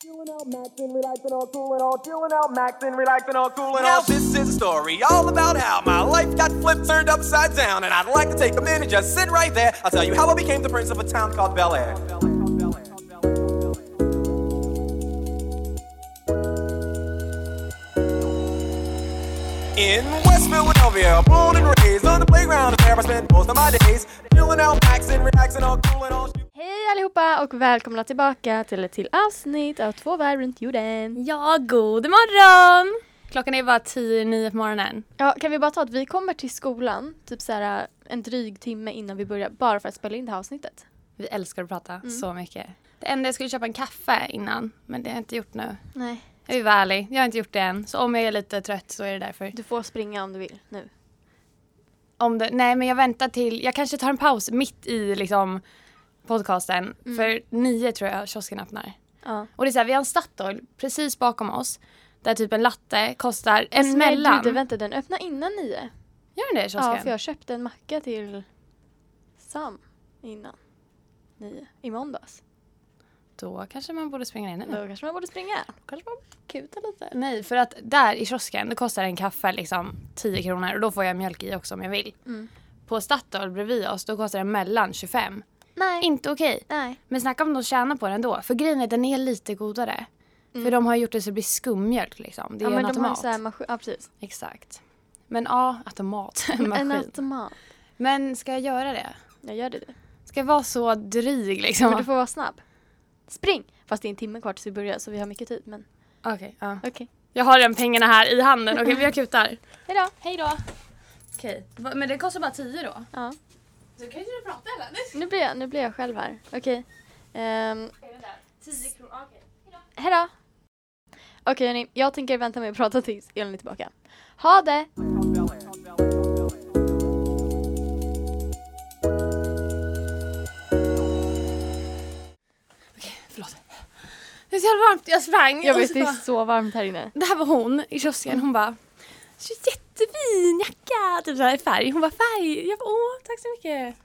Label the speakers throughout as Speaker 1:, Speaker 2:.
Speaker 1: Chilling out, maxing, relaxing, all cool and all. Chilling out, maxing, relaxing, all cool and all. Now this is a story all about how my life got flipped, turned upside down, and I'd like to take a minute, just sit right there. I'll tell you how I became the prince of a town called Bel Air. In West Philadelphia, born and raised on the playground is where I spent most of my days. Chilling out, maxing, relaxing, all cool and all.
Speaker 2: Hej allihopa och välkomna tillbaka till ett till avsnitt av Två varv runt jorden.
Speaker 3: Ja, god morgon! Klockan är bara tio, nio på morgonen.
Speaker 2: Ja, kan vi bara ta att vi kommer till skolan typ så här en dryg timme innan vi börjar bara för att spela in det här avsnittet.
Speaker 3: Vi älskar att prata
Speaker 2: Mm.
Speaker 3: så mycket. Det enda jag skulle köpa en kaffe innan, men det har jag inte gjort nu.
Speaker 2: Nej.
Speaker 3: Jag vill vara ärlig, jag har inte gjort det än. Så om jag är lite trött så är det därför.
Speaker 2: Du får springa om du vill nu.
Speaker 3: Om det, nej, men jag väntar till, jag kanske tar en paus mitt i liksom podcasten.
Speaker 2: Mm.
Speaker 3: För nio tror jag kiosken öppnar.
Speaker 2: Ja.
Speaker 3: Och det är så här, vi har en Statoil precis bakom oss. Där typ en latte kostar en
Speaker 2: Alltså, Nej,
Speaker 3: mellan.
Speaker 2: Du, vänta, den öppnar innan nio.
Speaker 3: Gör den det kiosken?
Speaker 2: Ja, för jag köpte en macka till Sam innan nio i måndags.
Speaker 3: Då kanske man borde springa in nu.
Speaker 2: Då kanske man borde springa.
Speaker 3: kanske man kuta lite. Nej, för att där i kiosken då kostar en kaffe liksom 10 kronor och då får jag mjölk i också om jag vill.
Speaker 2: Mm.
Speaker 3: På Statoil bredvid oss då kostar den mellan 25.
Speaker 2: Nej.
Speaker 3: Inte okej.
Speaker 2: Nej.
Speaker 3: Men snacka om de tjänar på den då. För grejen är att den är lite godare. För de har gjort det så det blir skummjölk liksom. Det är
Speaker 2: Ja, men
Speaker 3: en
Speaker 2: de har ju
Speaker 3: automat.
Speaker 2: så här maskin. Ja, precis.
Speaker 3: Exakt. Men ja, automat. En
Speaker 2: En
Speaker 3: maskin.
Speaker 2: automat.
Speaker 3: Men ska jag göra det?
Speaker 2: Jag gör det.
Speaker 3: Ska jag vara så dryg liksom?
Speaker 2: Men du får vara snabb. Spring! Fast det är en timme kvar tills vi börjar så vi har mycket tid men
Speaker 3: Okej, ja.
Speaker 2: okej.
Speaker 3: Jag har den pengarna här i handen. Okej, vi har kutar.
Speaker 2: Hejdå!
Speaker 3: Hejdå. Okej, va- men det kostar bara 10 då?
Speaker 2: Ja.
Speaker 3: Så kan inte du prata eller?
Speaker 2: Nu blir jag, nu blir jag själv här. Okej. Ehm,
Speaker 3: 10 kronor, okej.
Speaker 2: hejdå! Okej hörni, jag tänker vänta med att prata tills Elin är tillbaka. Ha det!
Speaker 3: Förlåt. Det är så jävla varmt, jag sprang.
Speaker 2: Jag
Speaker 3: och
Speaker 2: vet
Speaker 3: så
Speaker 2: det är
Speaker 3: bara-
Speaker 2: så varmt här inne.
Speaker 3: det här var hon i kiosken, hon bara så jättefin jacka, typ såhär i färg. Hon var färg. Jag bara åh, tack så mycket.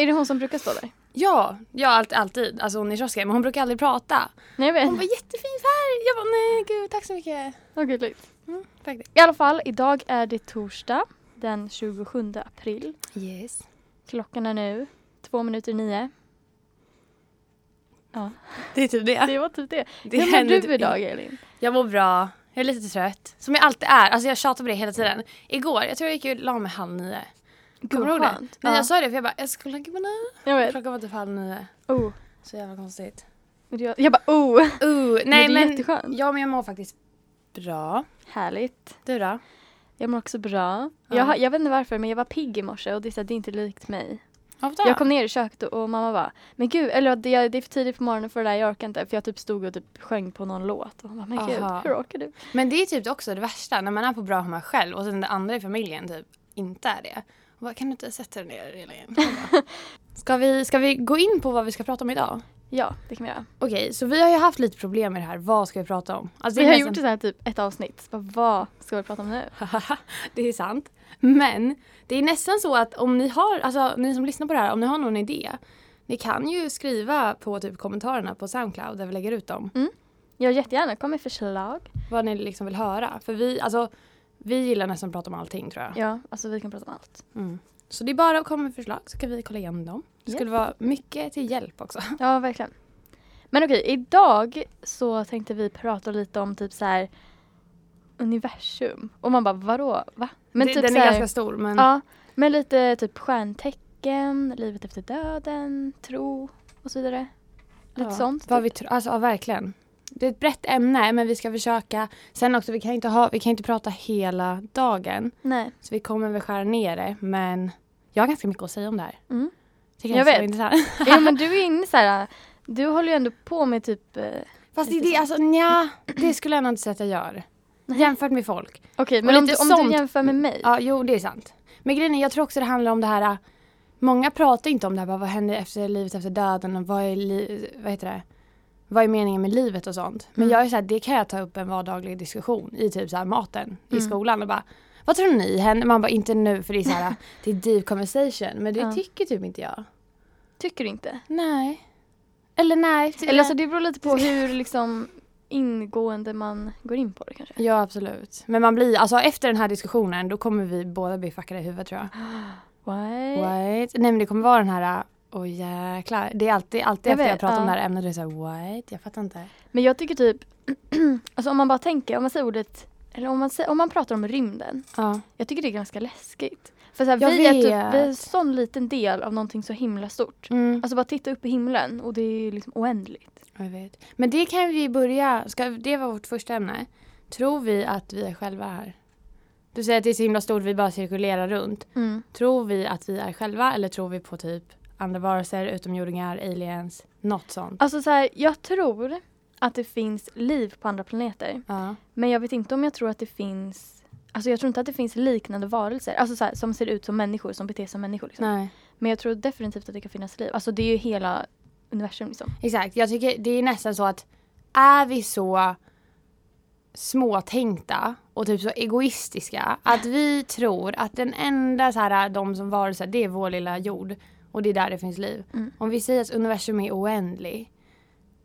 Speaker 2: Är det hon som brukar stå där?
Speaker 3: Ja, ja allt, alltid. Alltså hon i kiosken, men hon brukar aldrig prata.
Speaker 2: Nej jag
Speaker 3: Hon
Speaker 2: vet.
Speaker 3: var jättefin färg. Jag bara nej gud, tack så mycket.
Speaker 2: Vad gulligt.
Speaker 3: Mm, faktiskt.
Speaker 2: I alla fall, idag är det torsdag den 27 april.
Speaker 3: Yes.
Speaker 2: Klockan är nu två minuter i nio. Ja,
Speaker 3: Det är typ det.
Speaker 2: det var typ det.
Speaker 3: Det
Speaker 2: Hur mår
Speaker 3: händer typ
Speaker 2: du idag Elin?
Speaker 3: Jag mår bra. Jag är lite trött. Som jag alltid är. Alltså jag tjatar på det hela tiden. Igår, jag tror jag gick och la mig halv nio. Kommer du ihåg det? Nej
Speaker 2: Ja.
Speaker 3: jag sa det för jag bara, jag skulle lägga mig nu.
Speaker 2: Jag vet.
Speaker 3: Klockan var typ halv nio.
Speaker 2: Oh.
Speaker 3: Så jävla konstigt.
Speaker 2: Men Jag, jag bara oh.
Speaker 3: Uh,
Speaker 2: det är
Speaker 3: nej men,
Speaker 2: jätteskönt.
Speaker 3: ja men jag mår faktiskt bra.
Speaker 2: Härligt.
Speaker 3: Du då?
Speaker 2: Jag mår också bra.
Speaker 3: Ja.
Speaker 2: Jag, har- jag vet inte varför men jag var pigg i morse och det är, så här, det är inte likt mig.
Speaker 3: Ofta?
Speaker 2: Jag kom ner i köket och, och mamma bara Men gud, eller det, jag- det är för tidigt på morgonen för det där, jag orkar inte. För jag typ stod och typ sjöng på någon låt. Och hon bara, men gud,
Speaker 3: Aha.
Speaker 2: hur orkar du?
Speaker 3: Men det är typ också det värsta, när man är på bra humör själv och sen det andra i familjen typ inte är det. Och bara, kan du inte sätta dig ner Elin? ska, vi, ska vi gå in på vad vi ska prata om idag?
Speaker 2: Ja, det kan vi göra.
Speaker 3: Okej, så vi har ju haft lite problem med det här. Vad ska vi prata om? Alltså,
Speaker 2: Vi har
Speaker 3: nästan-
Speaker 2: gjort det så här typ ett avsnitt. Så Bara, vad ska vi prata om nu?
Speaker 3: Haha, det är sant. Men det är nästan så att om ni har, alltså ni som lyssnar på det här, om ni har någon idé. Ni kan ju skriva på typ kommentarerna på Soundcloud där vi lägger ut dem.
Speaker 2: Mm. Ja, jättegärna. Kom med förslag.
Speaker 3: Vad ni liksom vill höra. För vi, alltså vi gillar nästan att prata om allting tror jag.
Speaker 2: Ja, alltså vi kan prata om allt.
Speaker 3: Mm. Så det är bara att komma med förslag så kan vi kolla igenom dem. Det
Speaker 2: Yes.
Speaker 3: skulle vara mycket till hjälp också.
Speaker 2: Ja, verkligen. Men okej, idag så tänkte vi prata lite om typ så här universum. Och man bara, vadå? Va? Men
Speaker 3: det,
Speaker 2: typ
Speaker 3: den
Speaker 2: så
Speaker 3: är
Speaker 2: här,
Speaker 3: ganska stor men
Speaker 2: Ja, men lite typ stjärntecken, livet efter döden, tro och så vidare. Lite
Speaker 3: Ja,
Speaker 2: sånt.
Speaker 3: Vad
Speaker 2: typ.
Speaker 3: vi tror, alltså ja, verkligen. Det är ett brett ämne men vi ska försöka. Sen också, vi kan ju inte, ha, vi kan ju inte prata hela dagen.
Speaker 2: Nej.
Speaker 3: Så vi kommer väl skära ner det, men jag har ganska mycket att säga om det här.
Speaker 2: Mm.
Speaker 3: Tycker
Speaker 2: Jag
Speaker 3: det är så
Speaker 2: vet.
Speaker 3: intressant.
Speaker 2: Jo, men du är inne så här, du håller ju ändå på med typ, eh, okej
Speaker 3: Fast det, det, alltså, nja, det skulle jag nog inte säga att jag gör. Jämfört med folk.
Speaker 2: men om, du,
Speaker 3: lite
Speaker 2: om du
Speaker 3: sånt.
Speaker 2: jämför med mig.
Speaker 3: Ja, jo det är sant. Men grejen är, jag tror också det handlar om det här, äh, många pratar inte om det här, bara, vad händer efter livet efter döden och vad är, li- vad heter det? Vad är meningen med livet och sånt. Men jag är så här, det kan jag ta upp en vardaglig diskussion i typ så här maten i skolan och bara vad tror ni händer? Man bara inte nu för det är så här, äh, det är deep conversation. Men det
Speaker 2: Ja.
Speaker 3: tycker typ inte jag.
Speaker 2: Tycker du inte?
Speaker 3: Nej. alltså, Eller nej. Typ
Speaker 2: Eller alltså det beror lite på hur liksom ingående man går in på det kanske.
Speaker 3: Ja absolut. Men man blir, alltså efter den här diskussionen då kommer vi båda bli fuckade i huvudet tror jag.
Speaker 2: Why?
Speaker 3: What? Nej men det kommer vara den här, äh, åh jäklar. Det är alltid, alltid
Speaker 2: Jag
Speaker 3: efter jag
Speaker 2: vet,
Speaker 3: pratar om
Speaker 2: ja.
Speaker 3: det här ämnet, det är såhär what? Jag fattar inte.
Speaker 2: Men jag tycker typ, alltså om man bara tänker, om man säger ordet, eller om man, säger, om man pratar om rymden.
Speaker 3: Ja.
Speaker 2: Jag tycker det är ganska läskigt. För så här,
Speaker 3: Jag
Speaker 2: vi, är typ, vi är en
Speaker 3: vet.
Speaker 2: sån liten del av någonting så himla stort.
Speaker 3: Mm.
Speaker 2: Alltså bara titta upp i himlen och det är ju liksom oändligt.
Speaker 3: Ja, Alltså, Jag vet. Men det kan vi börja, ska det vara vårt första ämne? Tror vi att vi är själva här? Du säger att det är så himla stort, vi bara cirkulerar runt. Tror vi att vi är själva eller tror vi på typ andra varelser, utomjordingar, aliens, något sånt?
Speaker 2: Alltså så här, jag tror att det finns liv på andra planeter.
Speaker 3: Ja.
Speaker 2: Men jag vet inte om jag tror att det finns Alltså jag tror inte att det finns liknande varelser alltså så här, som ser ut som människor, som beter sig som människor. Liksom.
Speaker 3: Nej.
Speaker 2: Men jag tror definitivt att det kan finnas liv. Alltså det är ju hela universum liksom.
Speaker 3: Exakt, jag tycker det är nästan så att är vi så småtänkta och typ så egoistiska att vi tror att den enda så här, de som varelser det är vår lilla jord och det är där det finns liv.
Speaker 2: Mm.
Speaker 3: Om vi säger att universum är oändlig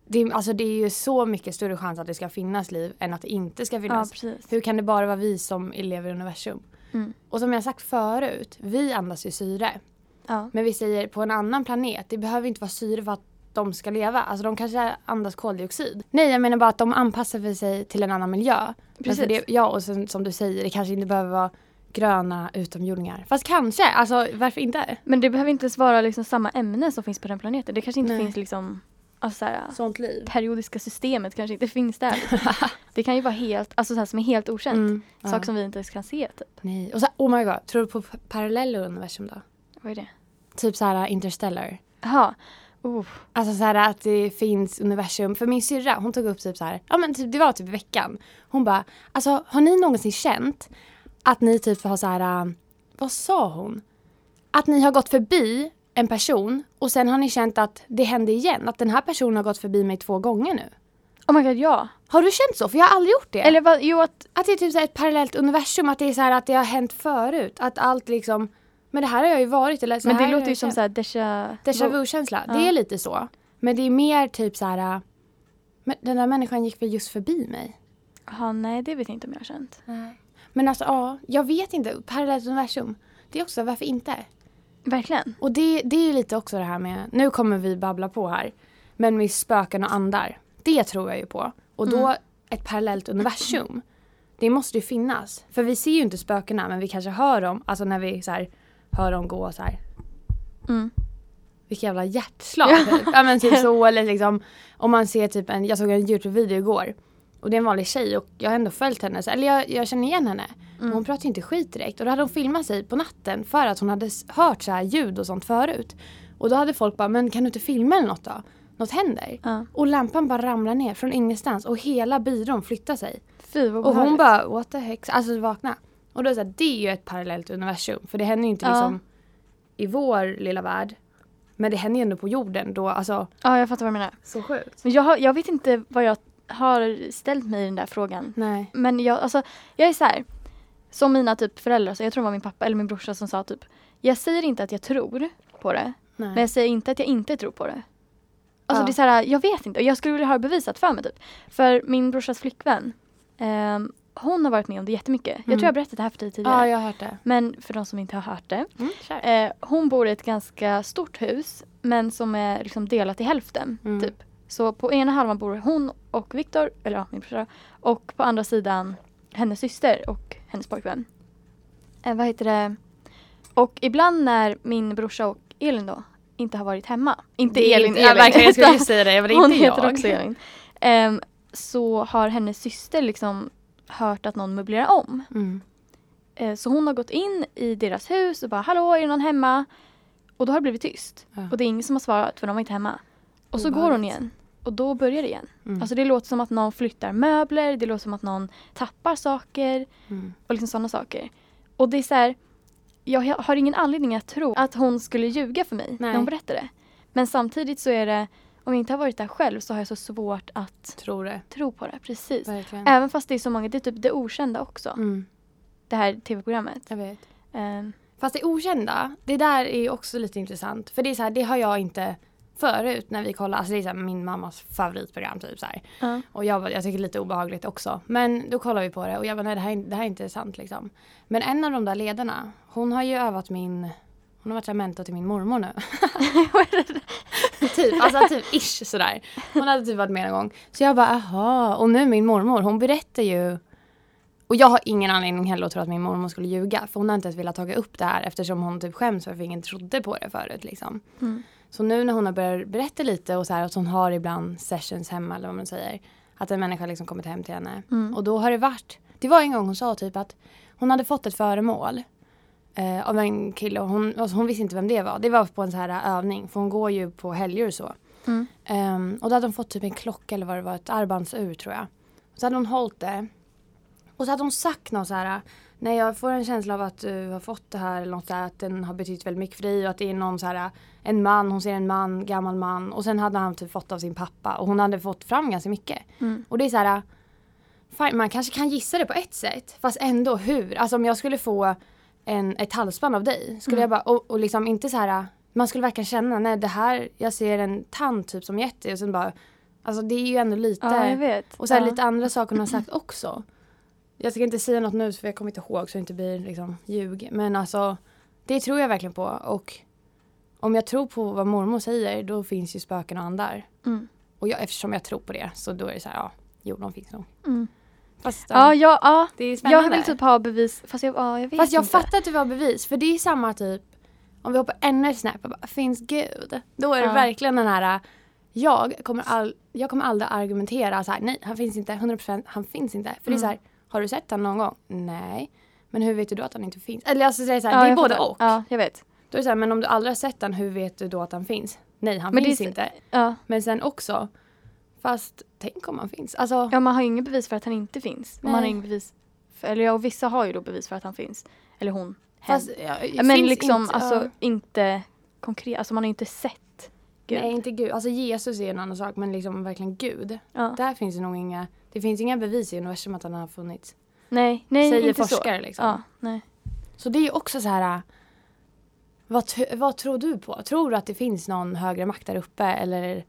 Speaker 3: det, är- alltså det är ju så mycket större chans att det ska finnas liv än att det inte ska
Speaker 2: Ja,
Speaker 3: finnas.
Speaker 2: precis.
Speaker 3: Hur kan det bara vara vi som lever i universum?
Speaker 2: Mm.
Speaker 3: Och som jag sagt förut, vi andas ju syre.
Speaker 2: Ja.
Speaker 3: Men vi säger på en annan planet, det behöver inte vara syre för att de ska leva. Alltså de kanske andas koldioxid. Nej jag menar bara att de anpassar för sig till en annan miljö. Men
Speaker 2: Precis.
Speaker 3: För det, ja och sen, som du säger, det kanske inte behöver vara gröna utomjordingar. Fast kanske, alltså varför inte?
Speaker 2: Men det behöver inte ens vara liksom samma ämne som finns på den planeten. Det kanske inte
Speaker 3: Nej.
Speaker 2: finns liksom, alltså så här,
Speaker 3: Sånt liv.
Speaker 2: periodiska systemet kanske inte finns där. Liksom. det kan ju vara helt, alltså så här, som är helt okänt.
Speaker 3: Mm, ja.
Speaker 2: Saker som vi inte ens kan se typ.
Speaker 3: Nej. Och så, oh my god, tror du på p- parallella universum då?
Speaker 2: Vad är det?
Speaker 3: Typ så här interstellar.
Speaker 2: Jaha. Oh.
Speaker 3: Alltså så här att det finns universum. För min syrra hon tog upp typ så här, ja men typ, det var typ i veckan. Hon bara, alltså har ni någonsin känt att ni typ har så här, äh, vad sa hon? Att ni har gått förbi en person och sen har ni känt att det hände igen. Att den här personen har gått förbi mig två gånger nu.
Speaker 2: oh my god ja.
Speaker 3: Har du känt så? För jag har aldrig gjort det.
Speaker 2: Eller vad, jo att,
Speaker 3: Att det är typ så här ett parallellt universum, att det är så här att det har hänt förut. Att allt liksom, men det här har jag ju varit. Eller så
Speaker 2: men det
Speaker 3: här har
Speaker 2: låter ju
Speaker 3: jag
Speaker 2: som
Speaker 3: känt.
Speaker 2: såhär déjà
Speaker 3: Déjà vu-känsla, det
Speaker 2: Ja.
Speaker 3: är lite så. Men det är mer typ så här... äh, Men den där människan gick väl just förbi mig?
Speaker 2: Jaha nej det vet jag inte om jag har känt.
Speaker 3: Men alltså ja, jag vet inte. Parallellt universum. Det är också, varför inte?
Speaker 2: Verkligen.
Speaker 3: Och det, det är ju lite också det här med, nu kommer vi babbla på här. Men med spöken och andar. Det tror jag ju på. Och då ett parallellt universum. Det måste ju finnas. För vi ser ju inte spökena men vi kanske hör dem. Alltså när vi så här, hör dem gå så här.
Speaker 2: Mm.
Speaker 3: Vilka jävla hjärtslag. typ. ja men typ så eller liksom om man ser typ en, jag såg en Youtube-video igår och det är en vanlig tjej och jag har ändå följt henne, så, eller jag, jag känner igen henne. Och
Speaker 2: Mm.
Speaker 3: Hon pratar ju inte skit direkt och då hade hon filmat sig på natten för att hon hade s- hört så här ljud och sånt förut. Och då hade folk bara, men kan du inte filma eller något då? Något händer.
Speaker 2: Ja.
Speaker 3: Och lampan bara ramlar ner från ingenstans och hela byrån flyttar sig.
Speaker 2: Fy vad
Speaker 3: Och hon
Speaker 2: obehagligt.
Speaker 3: bara what the heck, alltså vakna. Och då är det, så här, det är ju ett parallellt universum för det händer ju inte
Speaker 2: Ja.
Speaker 3: liksom i vår lilla värld. Men det händer ju ändå på jorden då, alltså.
Speaker 2: Ja jag fattar vad du menar.
Speaker 3: Så sjukt.
Speaker 2: Men jag, har- jag vet inte vad jag har ställt mig i den där frågan.
Speaker 3: Nej.
Speaker 2: Men jag, alltså, jag är så här. Som mina typ föräldrar, så jag tror det var min pappa eller min brorsa som sa typ. Jag säger inte att jag tror på det.
Speaker 3: Nej.
Speaker 2: Men jag säger inte att jag inte tror på det. Alltså
Speaker 3: Ja.
Speaker 2: det är så här, jag vet inte. Och jag skulle vilja ha det bevisat för mig typ. För min brorsas flickvän. ehm, hon har varit med om det jättemycket. Jag tror jag berättat det här för dig tidigare.
Speaker 3: Mm. ja, jag har hört det.
Speaker 2: Men för de som inte har hört det.
Speaker 3: Mm, kör.
Speaker 2: Eh, hon bor i ett ganska stort hus men som är liksom delat i hälften.
Speaker 3: Mm.
Speaker 2: Typ. Så på ena halvan bor hon och Viktor, eller ja, min brorsa. Och på andra sidan hennes syster och hennes pojkvän. Eh, vad heter det? Och ibland när min brorsa och Elin då inte har varit hemma. Inte
Speaker 3: Det är
Speaker 2: Elin,
Speaker 3: inte- ja,
Speaker 2: Elin.
Speaker 3: verkligen, jag skulle
Speaker 2: utan
Speaker 3: just säga det, men det är
Speaker 2: hon
Speaker 3: inte
Speaker 2: heter
Speaker 3: jag.
Speaker 2: också Elin. Ehm, så har hennes syster liksom hört att någon möblerar om.
Speaker 3: Mm.
Speaker 2: Eh, Så hon har gått in i deras hus och bara hallå är det någon hemma? Och då har det blivit tyst.
Speaker 3: Ja.
Speaker 2: Och det är ingen som har svarat för de var inte hemma. Och så går hon
Speaker 3: Obehagligt.
Speaker 2: igen. Och då börjar det igen.
Speaker 3: Mm.
Speaker 2: Alltså det låter som att någon flyttar möbler, det låter som att någon tappar saker
Speaker 3: Mm.
Speaker 2: och liksom sådana saker. Och det är så här, jag jag har ingen anledning att tro att hon skulle ljuga för mig när
Speaker 3: Nej.
Speaker 2: hon berättar det. Men samtidigt så är det, om jag inte har varit där själv så har jag så svårt att
Speaker 3: Tror det.
Speaker 2: tro på det. Precis.
Speaker 3: Verkligen.
Speaker 2: Även fast det är så många, det är typ det okända också.
Speaker 3: Mm.
Speaker 2: Det här tv-programmet.
Speaker 3: Jag vet.
Speaker 2: Ehm,
Speaker 3: Fast det okända, det där är ju också lite intressant. För det är så här, det har jag inte förut när vi kollade, alltså det är så här, min mammas favoritprogram typ så här.
Speaker 2: Ja.
Speaker 3: Och jag, bara, jag tycker det är lite obehagligt också. Men då kollar vi på det och jag bara nej det här, är- det här är inte sant liksom. Men en av de där ledarna, hon har ju övat min, hon har varit så här mentor till min mormor nu. typ, alltså typ ish sådär. Hon hade typ varit med någon gång. Så jag bara aha, och nu min mormor, hon berättar ju och jag har ingen anledning heller att tro att min mormor skulle ljuga för hon har inte ens velat ta upp det här eftersom hon typ skäms för att ingen trodde på det förut liksom.
Speaker 2: Mm.
Speaker 3: Så nu när hon har börjat berätta lite och så här att hon har ibland sessions hemma eller vad man säger. Att en människa liksom kommit hem till henne.
Speaker 2: Mm.
Speaker 3: Och då har det varit, det var en gång hon sa typ att hon hade fått ett föremål. Eh, av en kille och hon, alltså hon visste inte vem det var. Det var på en så här övning för hon går ju på helger och så.
Speaker 2: Mm.
Speaker 3: Ehm, och då hade hon fått typ en klocka eller vad det var, ett armbandsur tror jag. Och så hade hon hållit det. Och så hade hon sagt något så här. Nej jag får en känsla av att du har fått det här eller något så här, att den har betytt väldigt mycket för dig och att det är någon så här en man, hon ser en man, gammal man och sen hade han typ fått av sin pappa och hon hade fått fram ganska mycket.
Speaker 2: Mm.
Speaker 3: Och det är så här fine, man kanske kan gissa det på ett sätt fast ändå hur? Alltså om jag skulle få en, ett halsband av dig
Speaker 2: Mm.
Speaker 3: skulle jag bara och, och liksom inte så här man skulle verkligen känna nej det här jag ser en tand typ som gett dig och sen bara alltså det är ju ändå lite
Speaker 2: Ja, jag vet.
Speaker 3: och sen
Speaker 2: ja.
Speaker 3: lite andra saker hon har sagt också. Jag ska inte säga något nu för jag kommer inte ihåg så det inte blir liksom ljug. Men alltså det tror jag verkligen på och om jag tror på vad mormor säger då finns ju spöken och andar.
Speaker 2: Mm.
Speaker 3: Och jag, eftersom jag tror på det så då är det så här ja, jo de finns nog.
Speaker 2: Mm.
Speaker 3: Fast,
Speaker 2: Ja, jag, ja.
Speaker 3: det är
Speaker 2: jag vill typ ha bevis. Fast jag, ja, jag vet
Speaker 3: Fast jag
Speaker 2: inte.
Speaker 3: fattar att det var bevis för det är samma typ om vi hoppar ännu snäppare, bara, finns gud? Då är det
Speaker 2: Ja.
Speaker 3: verkligen den här jag kommer, all, jag kommer aldrig argumentera så här, nej han finns inte, 100% han finns inte. För det är
Speaker 2: Mm.
Speaker 3: så här, har du sett han någon gång? Nej. Men hur vet du då att han inte finns? Eller alltså det är, så här,
Speaker 2: Ja,
Speaker 3: det är
Speaker 2: jag
Speaker 3: både
Speaker 2: fattar.
Speaker 3: och.
Speaker 2: Ja, jag vet.
Speaker 3: Då är det så här, men om du aldrig har sett han, hur vet du då att han finns? Nej, han
Speaker 2: Men det är
Speaker 3: finns
Speaker 2: så-
Speaker 3: inte.
Speaker 2: Ja.
Speaker 3: Men sen också, fast tänk om han finns. Alltså,
Speaker 2: ja, man har ju inget bevis för att han inte finns. Och Man har
Speaker 3: Nej.
Speaker 2: inget bevis. För, eller ja, och vissa har ju då bevis för att han finns. Eller hon. hen.
Speaker 3: fast, ja, det
Speaker 2: men
Speaker 3: finns
Speaker 2: liksom
Speaker 3: inte,
Speaker 2: alltså
Speaker 3: ja.
Speaker 2: inte konkret. Alltså man har ju inte sett Gud.
Speaker 3: Nej, inte Gud. Alltså Jesus är en annan sak, men liksom verkligen Gud.
Speaker 2: Ja.
Speaker 3: Där finns det nog inga, det finns inga bevis i universum att han har funnits.
Speaker 2: Nej, nej
Speaker 3: Säger
Speaker 2: inte
Speaker 3: forskare
Speaker 2: så.
Speaker 3: liksom.
Speaker 2: Ja, nej.
Speaker 3: Så det är ju också så här, äh, vad, t- vad tror du på? Tror du att det finns någon högre makt där uppe eller?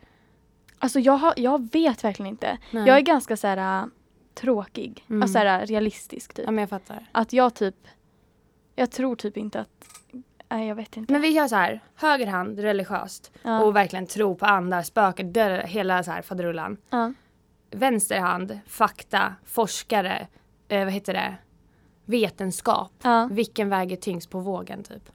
Speaker 2: Alltså jag, har, jag vet verkligen inte.
Speaker 3: Nej.
Speaker 2: Jag är ganska så här äh, tråkig.
Speaker 3: Mm.
Speaker 2: Alltså så här, äh, realistisk typ.
Speaker 3: Ja men jag fattar.
Speaker 2: Att jag typ, jag tror typ inte att, nej jag vet inte.
Speaker 3: Men vi gör så här, höger hand religiöst
Speaker 2: Ja.
Speaker 3: och verkligen tro på andar, spöken, dörr, hela så här faderullan.
Speaker 2: Ja.
Speaker 3: Vänster hand, fakta, forskare, eh, vad heter det? Vetenskap.
Speaker 2: Ja.
Speaker 3: Vilken väger tyngst på vågen typ?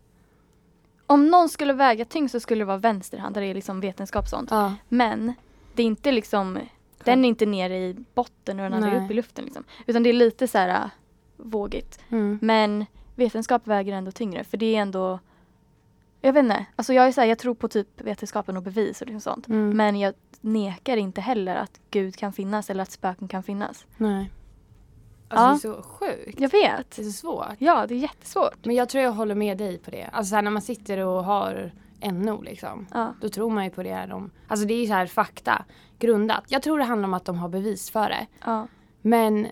Speaker 2: Om någon skulle väga tyngst så skulle det vara vänster hand där det är liksom vetenskap och sånt.
Speaker 3: Ja.
Speaker 2: Men det är inte liksom, den är inte nere i botten och den andra är
Speaker 3: Nej.
Speaker 2: uppe i luften liksom. Utan det är lite så här äh, vågigt.
Speaker 3: Mm.
Speaker 2: Men vetenskap väger ändå tyngre för det är ändå jag vet inte. Alltså jag, är så här, jag tror på typ vetenskapen och bevis och liksom sånt.
Speaker 3: Mm.
Speaker 2: Men jag nekar inte heller att Gud kan finnas eller att spöken kan finnas.
Speaker 3: Nej.
Speaker 2: Alltså,
Speaker 3: det är så sjukt.
Speaker 2: Jag vet.
Speaker 3: Det är så svårt.
Speaker 2: Ja, det är jättesvårt.
Speaker 3: Men jag tror jag håller med dig på det. Alltså så här, när man sitter och har NO liksom.
Speaker 2: Ja.
Speaker 3: Då tror man ju på det här de... Alltså det är ju så här fakta. Grundat. Jag tror det handlar om att de har bevis för det.
Speaker 2: Ja.
Speaker 3: Men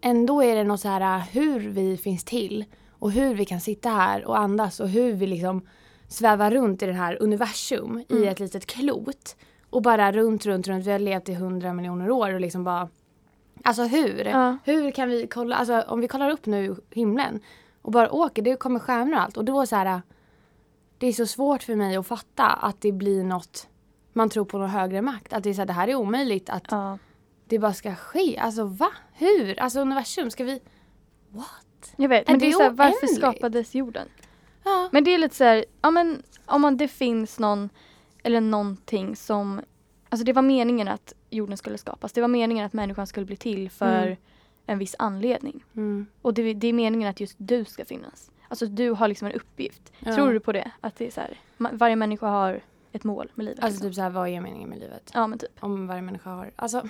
Speaker 3: ändå är det något så här äh, hur vi finns till. Och hur vi kan sitta här och andas och hur vi liksom svävar runt i det här universum i
Speaker 2: Mm.
Speaker 3: ett litet klot. Och bara runt, runt, runt. Vi har levt i hundra miljoner år och liksom bara Alltså hur?
Speaker 2: Ja.
Speaker 3: Hur kan vi kolla, alltså om vi kollar upp nu himlen och bara åker, det kommer stjärnor och allt. Och då så här, äh, det är så svårt för mig att fatta att det blir något, man tror på någon högre makt. Att det är så här, det här är omöjligt att
Speaker 2: ja.
Speaker 3: det bara ska ske. Alltså va? Hur? Alltså universum, ska vi? What?
Speaker 2: Jag vet.
Speaker 3: Är
Speaker 2: Men det
Speaker 3: det
Speaker 2: är så här, varför
Speaker 3: oändligt?
Speaker 2: skapades jorden?
Speaker 3: Ja.
Speaker 2: Men det är lite så här, ja men om man, det finns någon eller någonting som, alltså det var meningen att jorden skulle skapas. Det var meningen att människan skulle bli till för
Speaker 3: Mm.
Speaker 2: en viss anledning.
Speaker 3: Mm.
Speaker 2: Och det, det är meningen att just du ska finnas. Alltså du har liksom en uppgift.
Speaker 3: Ja.
Speaker 2: Tror du på det? Att det är så här, ma- varje människa har ett mål med livet.
Speaker 3: Alltså
Speaker 2: liksom.
Speaker 3: typ så här, vad är meningen med livet?
Speaker 2: Ja men typ.
Speaker 3: Om varje människa har, alltså.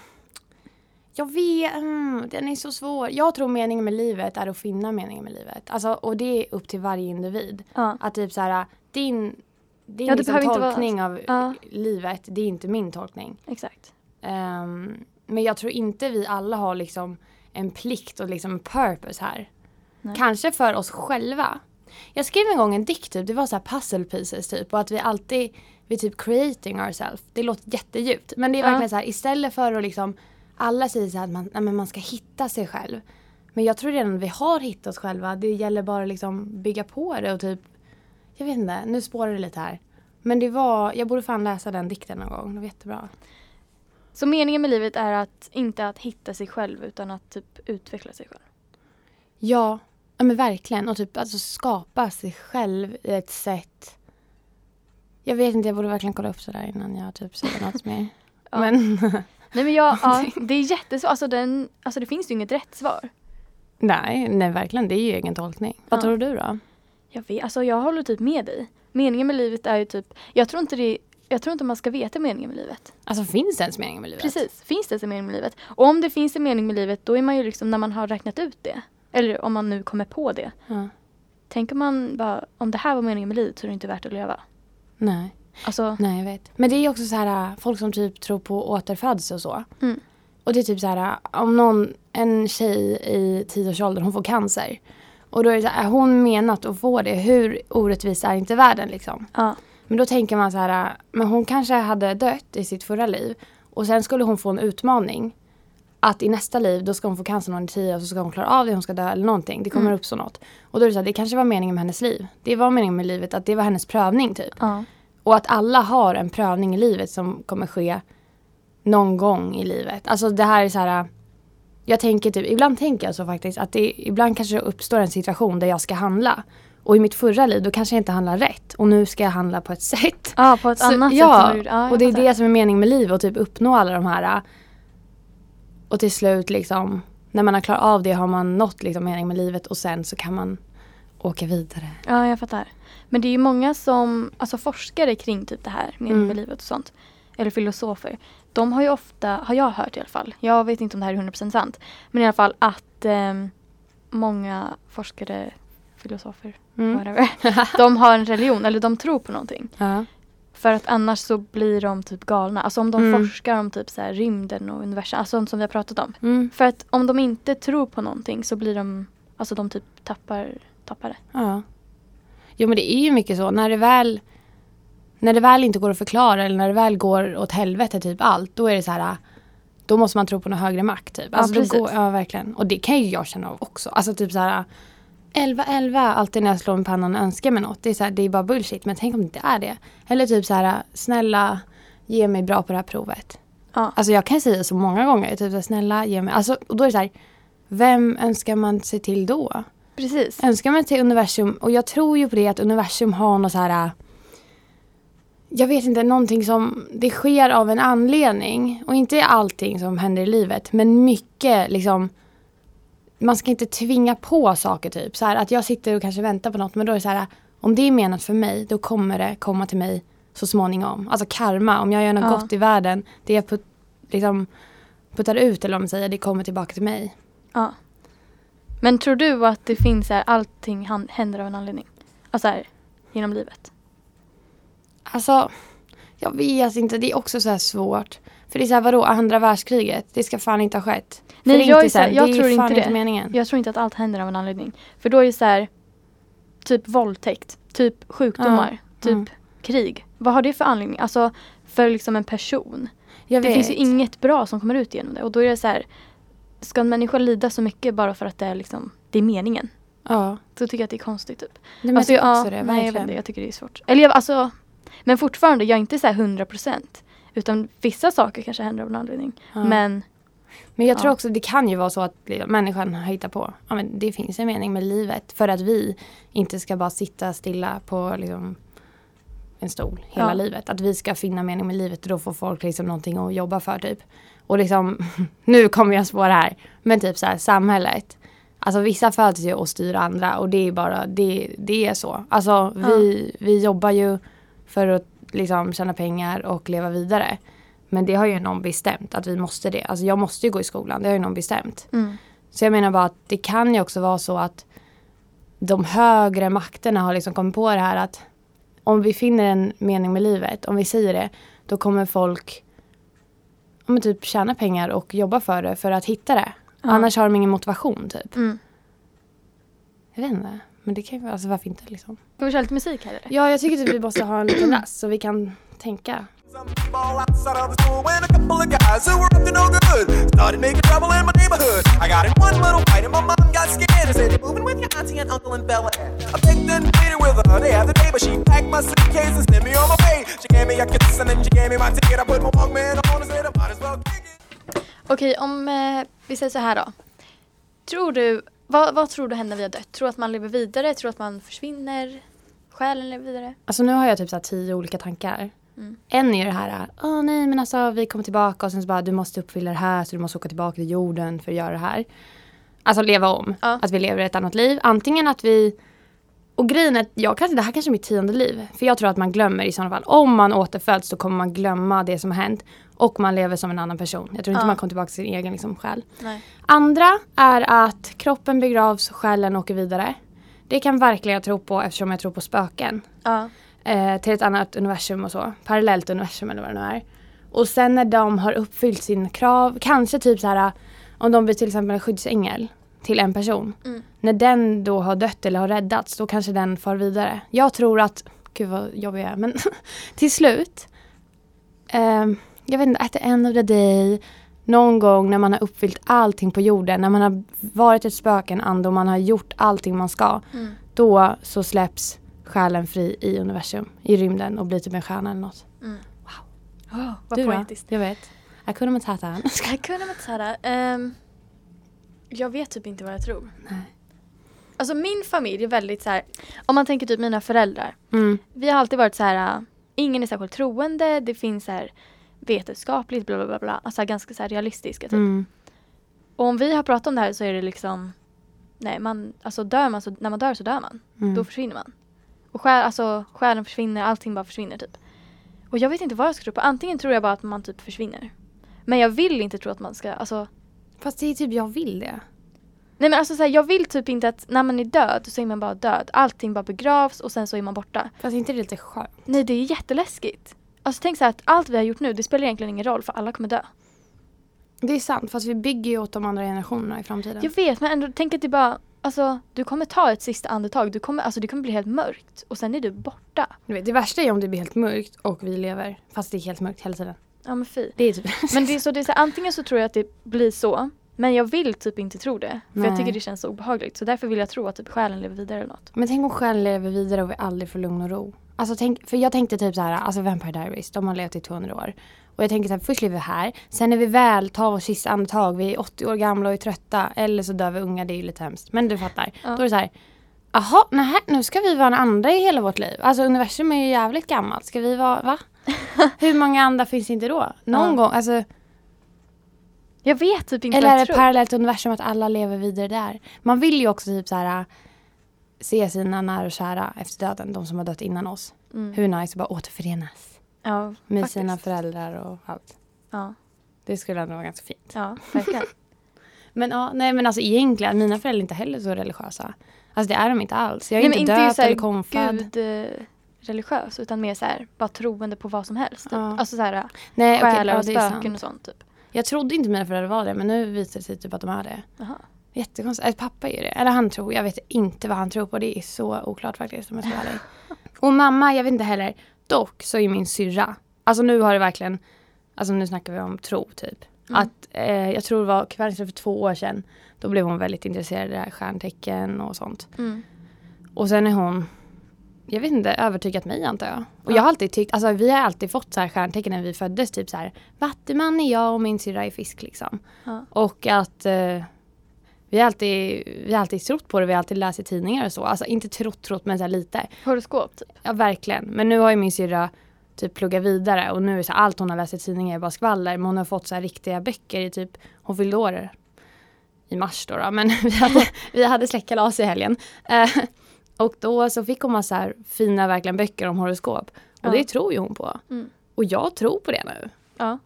Speaker 3: Jag vet, mm, den är så svår. Jag tror meningen med livet är att finna meningen med livet. Alltså, och det är upp till varje individ.
Speaker 2: Ja.
Speaker 3: Att typ så här, din, din
Speaker 2: Ja, det
Speaker 3: liksom
Speaker 2: behöver inte vara-
Speaker 3: tolkning av
Speaker 2: Ja.
Speaker 3: livet, det är inte min tolkning.
Speaker 2: Exakt.
Speaker 3: Ehm, men jag tror inte vi alla har liksom en plikt och liksom en purpose här.
Speaker 2: Nej.
Speaker 3: Kanske för oss själva. Jag skrev en gång en dikt, typ, det var så här puzzle pieces typ och att vi alltid, vi typ creating ourselves. Det låter jättedjupt men det är
Speaker 2: Ja.
Speaker 3: verkligen så här istället för att liksom alla säger så här att man, nej, men man ska hitta sig själv. Men jag tror redan vi har hittat oss själva. Det gäller bara att liksom bygga på det och typ jag vet inte, nu spårar det lite här. Men det var, jag borde fan läsa den dikten någon gång, den var jättebra.
Speaker 2: Så meningen med livet är att inte att hitta sig själv utan att typ utveckla sig själv.
Speaker 3: Ja, ja men verkligen. Och typ alltså skapa sig själv i ett sätt. Jag vet inte, jag borde verkligen kolla upp det där innan jag typ säger något mer.
Speaker 2: Ja.
Speaker 3: Men
Speaker 2: Nej men jag, ja, det är jättesvårt. Alltså, den, alltså det finns ju inget rätt svar.
Speaker 3: nej, nej verkligen, det är ju egen tolkning. Vad
Speaker 2: Ja.
Speaker 3: tror du då?
Speaker 2: Jag vet, alltså jag håller typ med dig. Meningen med livet är ju typ, jag tror inte det jag tror inte man ska veta meningen med livet.
Speaker 3: Alltså finns det ens mening med livet?
Speaker 2: Precis, finns det ens en mening med livet? Och om det finns en mening med livet då är man ju liksom när man har räknat ut det. Eller om man nu kommer på det.
Speaker 3: Ja.
Speaker 2: Tänker man bara, om det här var meningen med livet så är det inte värt att leva.
Speaker 3: Nej.
Speaker 2: Alltså,
Speaker 3: nej, jag vet. Men det är ju också så här, äh, folk som typ tror på återfödelse och så.
Speaker 2: Mm.
Speaker 3: Och det är typ så här, äh, om någon, en tjej i 10-årsåldern, hon får cancer. Och då är det så här, är hon menat att få det? Hur orättvis är inte världen liksom?
Speaker 2: ja.
Speaker 3: Men då tänker man så här, äh, men hon kanske hade dött i sitt förra liv och sen skulle hon få en utmaning. Att i nästa liv då ska hon få cancer när hon är 10 och så ska hon klara av det, hon ska dö eller någonting. Det kommer
Speaker 2: Mm.
Speaker 3: uppstå något. Och då är det så här, det kanske var meningen med hennes liv. Det var meningen med livet, att det var hennes prövning typ.
Speaker 2: ja.
Speaker 3: Och att alla har en prövning i livet som kommer ske någon gång i livet. Alltså det här är så här. Jag tänker typ, ibland tänker jag så faktiskt att det, ibland kanske det uppstår en situation där jag ska handla. Och i mitt förra liv då kanske jag inte handlar rätt och nu ska jag handla på ett sätt.
Speaker 2: Ja, på ett
Speaker 3: Så-
Speaker 2: annat sätt.
Speaker 3: ja,
Speaker 2: som du gjorde. Ja,
Speaker 3: och det är
Speaker 2: jag
Speaker 3: det som är meningen med livet, att typ uppnå alla de här. Och till slut liksom, när man har klarat av det har man nått liksom meningen med livet och sen så kan man åka vidare.
Speaker 2: Ja, jag fattar. Men det är ju många som, alltså forskare kring typ det här med,
Speaker 3: Mm.
Speaker 2: med livet och sånt. Eller filosofer. De har ju ofta, har jag hört i alla fall, jag vet inte om det här är 100% sant. Men i alla fall att ehm, många forskare, filosofer,
Speaker 3: Mm.
Speaker 2: whatever. De har en religion, eller de tror på någonting.
Speaker 3: Ja.
Speaker 2: För att annars så blir de typ galna. Alltså om de
Speaker 3: Mm.
Speaker 2: forskar om typ så här rymden och universum, alltså sånt som vi har pratat om.
Speaker 3: Mm.
Speaker 2: För att om de inte tror på någonting så blir de, alltså de typ tappar, tappar det.
Speaker 3: Ja. Jo men det är ju mycket så. När det väl, när det väl inte går att förklara eller när det väl går åt helvete typ allt. Då är det så här. Då måste man tro på någon högre makt typ. Alltså, då
Speaker 2: precis.
Speaker 3: Går, ja verkligen. Och det kan ju jag känna av också. Alltså typ så här. 11, 11, alltid när jag slår mig på pannan och önskar mig något. Det är, så här, det är bara bullshit men tänk om det inte är det. Eller typ så här, snälla ge mig bra på det här provet.
Speaker 2: Ja.
Speaker 3: Alltså jag kan säga så många gånger, typ så här, snälla ge mig. Alltså, och då är det så här, vem önskar man sig till då?
Speaker 2: Precis.
Speaker 3: önskar mig till universum och jag tror ju på det att universum har något så här äh, jag vet inte, någonting som det sker av en anledning och inte allting som händer i livet men mycket liksom man ska inte tvinga på saker typ så här att jag sitter och kanske väntar på något men då är det så här äh, om det är menat för mig då kommer det komma till mig så småningom alltså karma om jag gör något
Speaker 2: Ja.
Speaker 3: gott i världen det jag put, liksom puttar ut eller vad man säger det kommer tillbaka till mig
Speaker 2: Ja. Men tror du att det finns så här, allting han- händer av en anledning? Alltså här, genom livet?
Speaker 3: Alltså, jag vet inte. Det är också så här svårt. För det är så här, vadå, andra världskriget? Det ska fan inte ha skett.
Speaker 2: Nej,
Speaker 3: för det är
Speaker 2: jag
Speaker 3: inte
Speaker 2: är så
Speaker 3: här,
Speaker 2: här, jag
Speaker 3: det
Speaker 2: tror
Speaker 3: är fan
Speaker 2: inte det.
Speaker 3: meningen.
Speaker 2: Jag tror inte att allt händer av en anledning. För då är det så här, typ våldtäkt, typ sjukdomar, typ
Speaker 3: mm.
Speaker 2: krig. Vad har det för anledning? Alltså för liksom en person.
Speaker 3: Jag
Speaker 2: det
Speaker 3: vet.
Speaker 2: finns ju inget bra som kommer ut genom det. Och då är det så här, ska en människa lida så mycket bara för att det är liksom, det är meningen?
Speaker 3: Ja.
Speaker 2: Då tycker jag att det är konstigt typ.
Speaker 3: Nej, men
Speaker 2: alltså,
Speaker 3: jag tycker
Speaker 2: ja,
Speaker 3: också det,
Speaker 2: nej, jag, vet
Speaker 3: verkligen.
Speaker 2: inte, jag tycker det är svårt. Eller jag, alltså, men fortfarande, jag är inte så här 100 procent. Utan vissa saker kanske händer av en anledning.
Speaker 3: Ja.
Speaker 2: Men
Speaker 3: Men jag tror
Speaker 2: Ja.
Speaker 3: också det kan ju vara så att liksom, människan har hittat på. Ja, men det finns en mening med livet för att vi inte ska bara sitta stilla på liksom, en stol hela
Speaker 2: Ja.
Speaker 3: livet. Att vi ska finna mening med livet och då får folk liksom någonting att jobba för typ. Och liksom, nu kommer jag spåra här. Men typ så här, samhället. Alltså vissa föds ju och styr andra och det är bara, det, det är så. Alltså vi, vi jobbar ju för att liksom tjäna pengar och leva vidare. Men det har ju någon bestämt att vi måste det. Alltså jag måste ju gå i skolan, det har ju någon bestämt.
Speaker 2: mm,
Speaker 3: Så jag menar bara att det kan ju också vara så att de högre makterna har liksom kommit på det här att om vi finner en mening med livet, om vi säger det, då kommer folk ja, men typ tjäna pengar och jobba för det för att hitta det.
Speaker 2: Ja.
Speaker 3: Annars har de ingen motivation typ.
Speaker 2: mm.
Speaker 3: Jag vet inte, men det kan ju vara, alltså varför inte liksom.
Speaker 2: Ska vi köra lite musik här eller?
Speaker 3: Ja, jag tycker typ vi måste ha en liten rast så vi kan tänka.
Speaker 1: Some ball outside of the school when a couple of guys who were up to no good started making trouble in my neighborhood. I got in one little fight and my mom got scared and said, You're moving with your auntie and uncle in Bel Air. I picked and waited with her day after day, but she packed my suitcase and sent me on my way. She gave me a kiss and then she gave me my ticket. I put my Walkman on and said, I might as well kick it.
Speaker 2: Okej, om eh, vi säger så här då. Tror du, vad, vad tror du händer när vi har dött? Tror du att man lever vidare? Tror du att man försvinner? Själen lever vidare?
Speaker 3: Alltså nu har jag typ så här tio olika tankar.
Speaker 2: Mm.
Speaker 3: En är ju det här, åh nej men alltså vi kommer tillbaka och sen så bara du måste uppfylla det här så du måste åka tillbaka till jorden för att göra det här. Alltså leva om,
Speaker 2: Ja.
Speaker 3: att vi lever ett annat liv. Antingen att vi, och grejen är att jag kanske, det här kanske är mitt tionde liv. För jag tror att man glömmer i sådana fall. Om man återföds så kommer man glömma det som har hänt. Och man lever som en annan person. Jag tror inte
Speaker 2: Ja.
Speaker 3: man kommer tillbaka till sin egen liksom, själ.
Speaker 2: Nej.
Speaker 3: Andra är att kroppen begravs, själen åker vidare. Det kan verkligen jag tro på eftersom jag tror på spöken
Speaker 2: Ja.
Speaker 3: eh, till ett annat universum och så. Parallellt universum eller vad det nu är. Och sen när de har uppfyllt sin krav, kanske typ så här om de blir till exempel en skyddsängel till en person.
Speaker 2: Mm.
Speaker 3: När den då har dött eller har räddats, då kanske den far vidare. Jag tror att, gud vad jobbig jag är, men till slut. ehm, jag vet inte, at the end of the day. Någon gång när man har uppfyllt allting på jorden, när man har varit ett spöke, en ande och man har gjort allting man ska
Speaker 2: Mm.
Speaker 3: då så släpps själen fri i universum, i rymden och blir typ en stjärna eller något.
Speaker 2: Oh, vad
Speaker 3: Du då?
Speaker 2: poetiskt.
Speaker 3: Jag vet. Akuna Matata.
Speaker 2: Jag kunde inte säga um, Jag vet typ inte vad jag tror.
Speaker 3: Nej.
Speaker 2: Alltså min familj är väldigt så här. Om man tänker typ mina föräldrar.
Speaker 3: Mm.
Speaker 2: Vi har alltid varit så här. äh, ingen är särskilt troende. Det finns så här vetenskapligt bla bla bla. bla. Alltså ganska så här realistiska typ.
Speaker 3: Mm.
Speaker 2: Och om vi har pratat om det här så är det liksom. Nej man, alltså dör man så, när man dör så dör man.
Speaker 3: Mm.
Speaker 2: Då försvinner man. Och själ, alltså, själen försvinner, allting bara försvinner typ. Och jag vet inte vad jag ska tro på. Antingen tror jag bara att man typ försvinner. Men jag vill inte tro att man ska, alltså
Speaker 3: Fast det är typ jag vill det.
Speaker 2: Nej men alltså så här, jag vill typ inte att när man är död så är man bara död. Allting bara begravs och sen så är man borta.
Speaker 3: Fast inte det är lite skönt?
Speaker 2: Nej det är jätteläskigt. Alltså tänk så här att allt vi har gjort nu det spelar egentligen ingen roll för alla kommer dö.
Speaker 3: Det är sant, fast vi bygger ju åt de andra generationerna i framtiden.
Speaker 2: Jag vet men ändå tänk att det bara, alltså du kommer ta ett sista andetag. Du kommer, alltså det kommer bli helt mörkt och sen är du borta.
Speaker 3: Du vet, det värsta är ju om det blir helt mörkt och vi lever, fast det är helt mörkt hela tiden.
Speaker 2: Ja men fy.
Speaker 3: Det är typ...
Speaker 2: Men det är så, det är så här, antingen så tror jag att det blir så. Men jag vill typ inte tro det. För jag
Speaker 3: Nej.
Speaker 2: tycker det känns så obehagligt. Så därför vill jag tro att typ själen lever vidare eller något.
Speaker 3: Men tänk om själen lever vidare och vi aldrig får lugn och ro. Alltså tänk, för jag tänkte typ så här, alltså Vampire Diaries, de har levt i 200 år. Och jag tänker så här, först lever vi här, sen när vi väl tar vårt sista andetag, vi är 80 år gamla och är trötta, eller så dör vi unga, det är ju lite hemskt. Men du fattar.
Speaker 2: Ja.
Speaker 3: Då är det så här, jaha, nähä, nu ska vi vara en ande i hela vårt liv. Alltså universum är ju jävligt gammalt, ska vi vara, va? Hur många andar finns inte då? Någon
Speaker 2: Ja.
Speaker 3: gång, alltså.
Speaker 2: Jag vet typ inte
Speaker 3: Eller
Speaker 2: vad
Speaker 3: är
Speaker 2: jag
Speaker 3: det
Speaker 2: tror.
Speaker 3: parallellt universum att alla lever vidare där? Man vill ju också typ så här äh, se sina nära och kära efter döden, de som har dött innan oss.
Speaker 2: Mm.
Speaker 3: Hur nice att bara återförenas
Speaker 2: Ja,
Speaker 3: med
Speaker 2: faktiskt.
Speaker 3: sina föräldrar och allt.
Speaker 2: Ja,
Speaker 3: Det skulle ändå vara ganska fint.
Speaker 2: ja verkligen.
Speaker 3: Men ja, nej men alltså egentligen, mina föräldrar är inte heller så religiösa. Alltså det är de inte alls. Jag är
Speaker 2: Nej, men
Speaker 3: inte
Speaker 2: ju
Speaker 3: döpt
Speaker 2: såhär
Speaker 3: eller konfad.
Speaker 2: Gud, eh, religiös utan mer så här, bara troende på vad som helst. Typ.
Speaker 3: Ja.
Speaker 2: Alltså så här,
Speaker 3: Nej, okej,
Speaker 2: själar
Speaker 3: ja,
Speaker 2: och
Speaker 3: det är
Speaker 2: spöken och
Speaker 3: sant.
Speaker 2: sånt. Typ.
Speaker 3: Jag trodde inte mina föräldrar var det, men nu visar det sig typ att de är det.
Speaker 2: Jaha.
Speaker 3: Jättekonstigt. Eller pappa är ju det. Eller han tror. Jag vet inte vad han tror på. Det är så oklart faktiskt om jag ska vara ärlig. Och mamma, jag vet inte heller. Dock så är min syrra. Alltså nu har det verkligen. Alltså nu snackar vi om tro typ.
Speaker 2: Mm.
Speaker 3: Att eh, jag tror det var kvällen för två år sedan. Då blev hon väldigt intresserad av det här stjärntecken och sånt.
Speaker 2: Mm.
Speaker 3: Och sen är hon. Jag vet inte, övertygat mig antar jag. Och jag har alltid tyckt, alltså vi har alltid fått så här stjärntecken när vi föddes. Typ så här, vattuman är jag och min syrra är fisk liksom.
Speaker 2: Ja.
Speaker 3: Och att eh, vi, har alltid, vi har alltid trott på det, vi har alltid läst i tidningar och så. Alltså inte trott, trott men så här lite.
Speaker 2: Horoskop typ.
Speaker 3: Ja verkligen. Men nu har ju min syrra typ pluggat vidare och nu är det så här, allt hon har läst i tidningar är bara skvaller. Men hon har fått så här riktiga böcker i typ, hon fyllde år i mars då, då men vi hade, vi hade släktkalas i helgen. Eh, och då så fick hon massa här fina verkligen böcker om horoskop. Och
Speaker 2: Ja.
Speaker 3: det tror ju hon på.
Speaker 2: Mm.
Speaker 3: Och jag tror på det nu.
Speaker 2: Ja.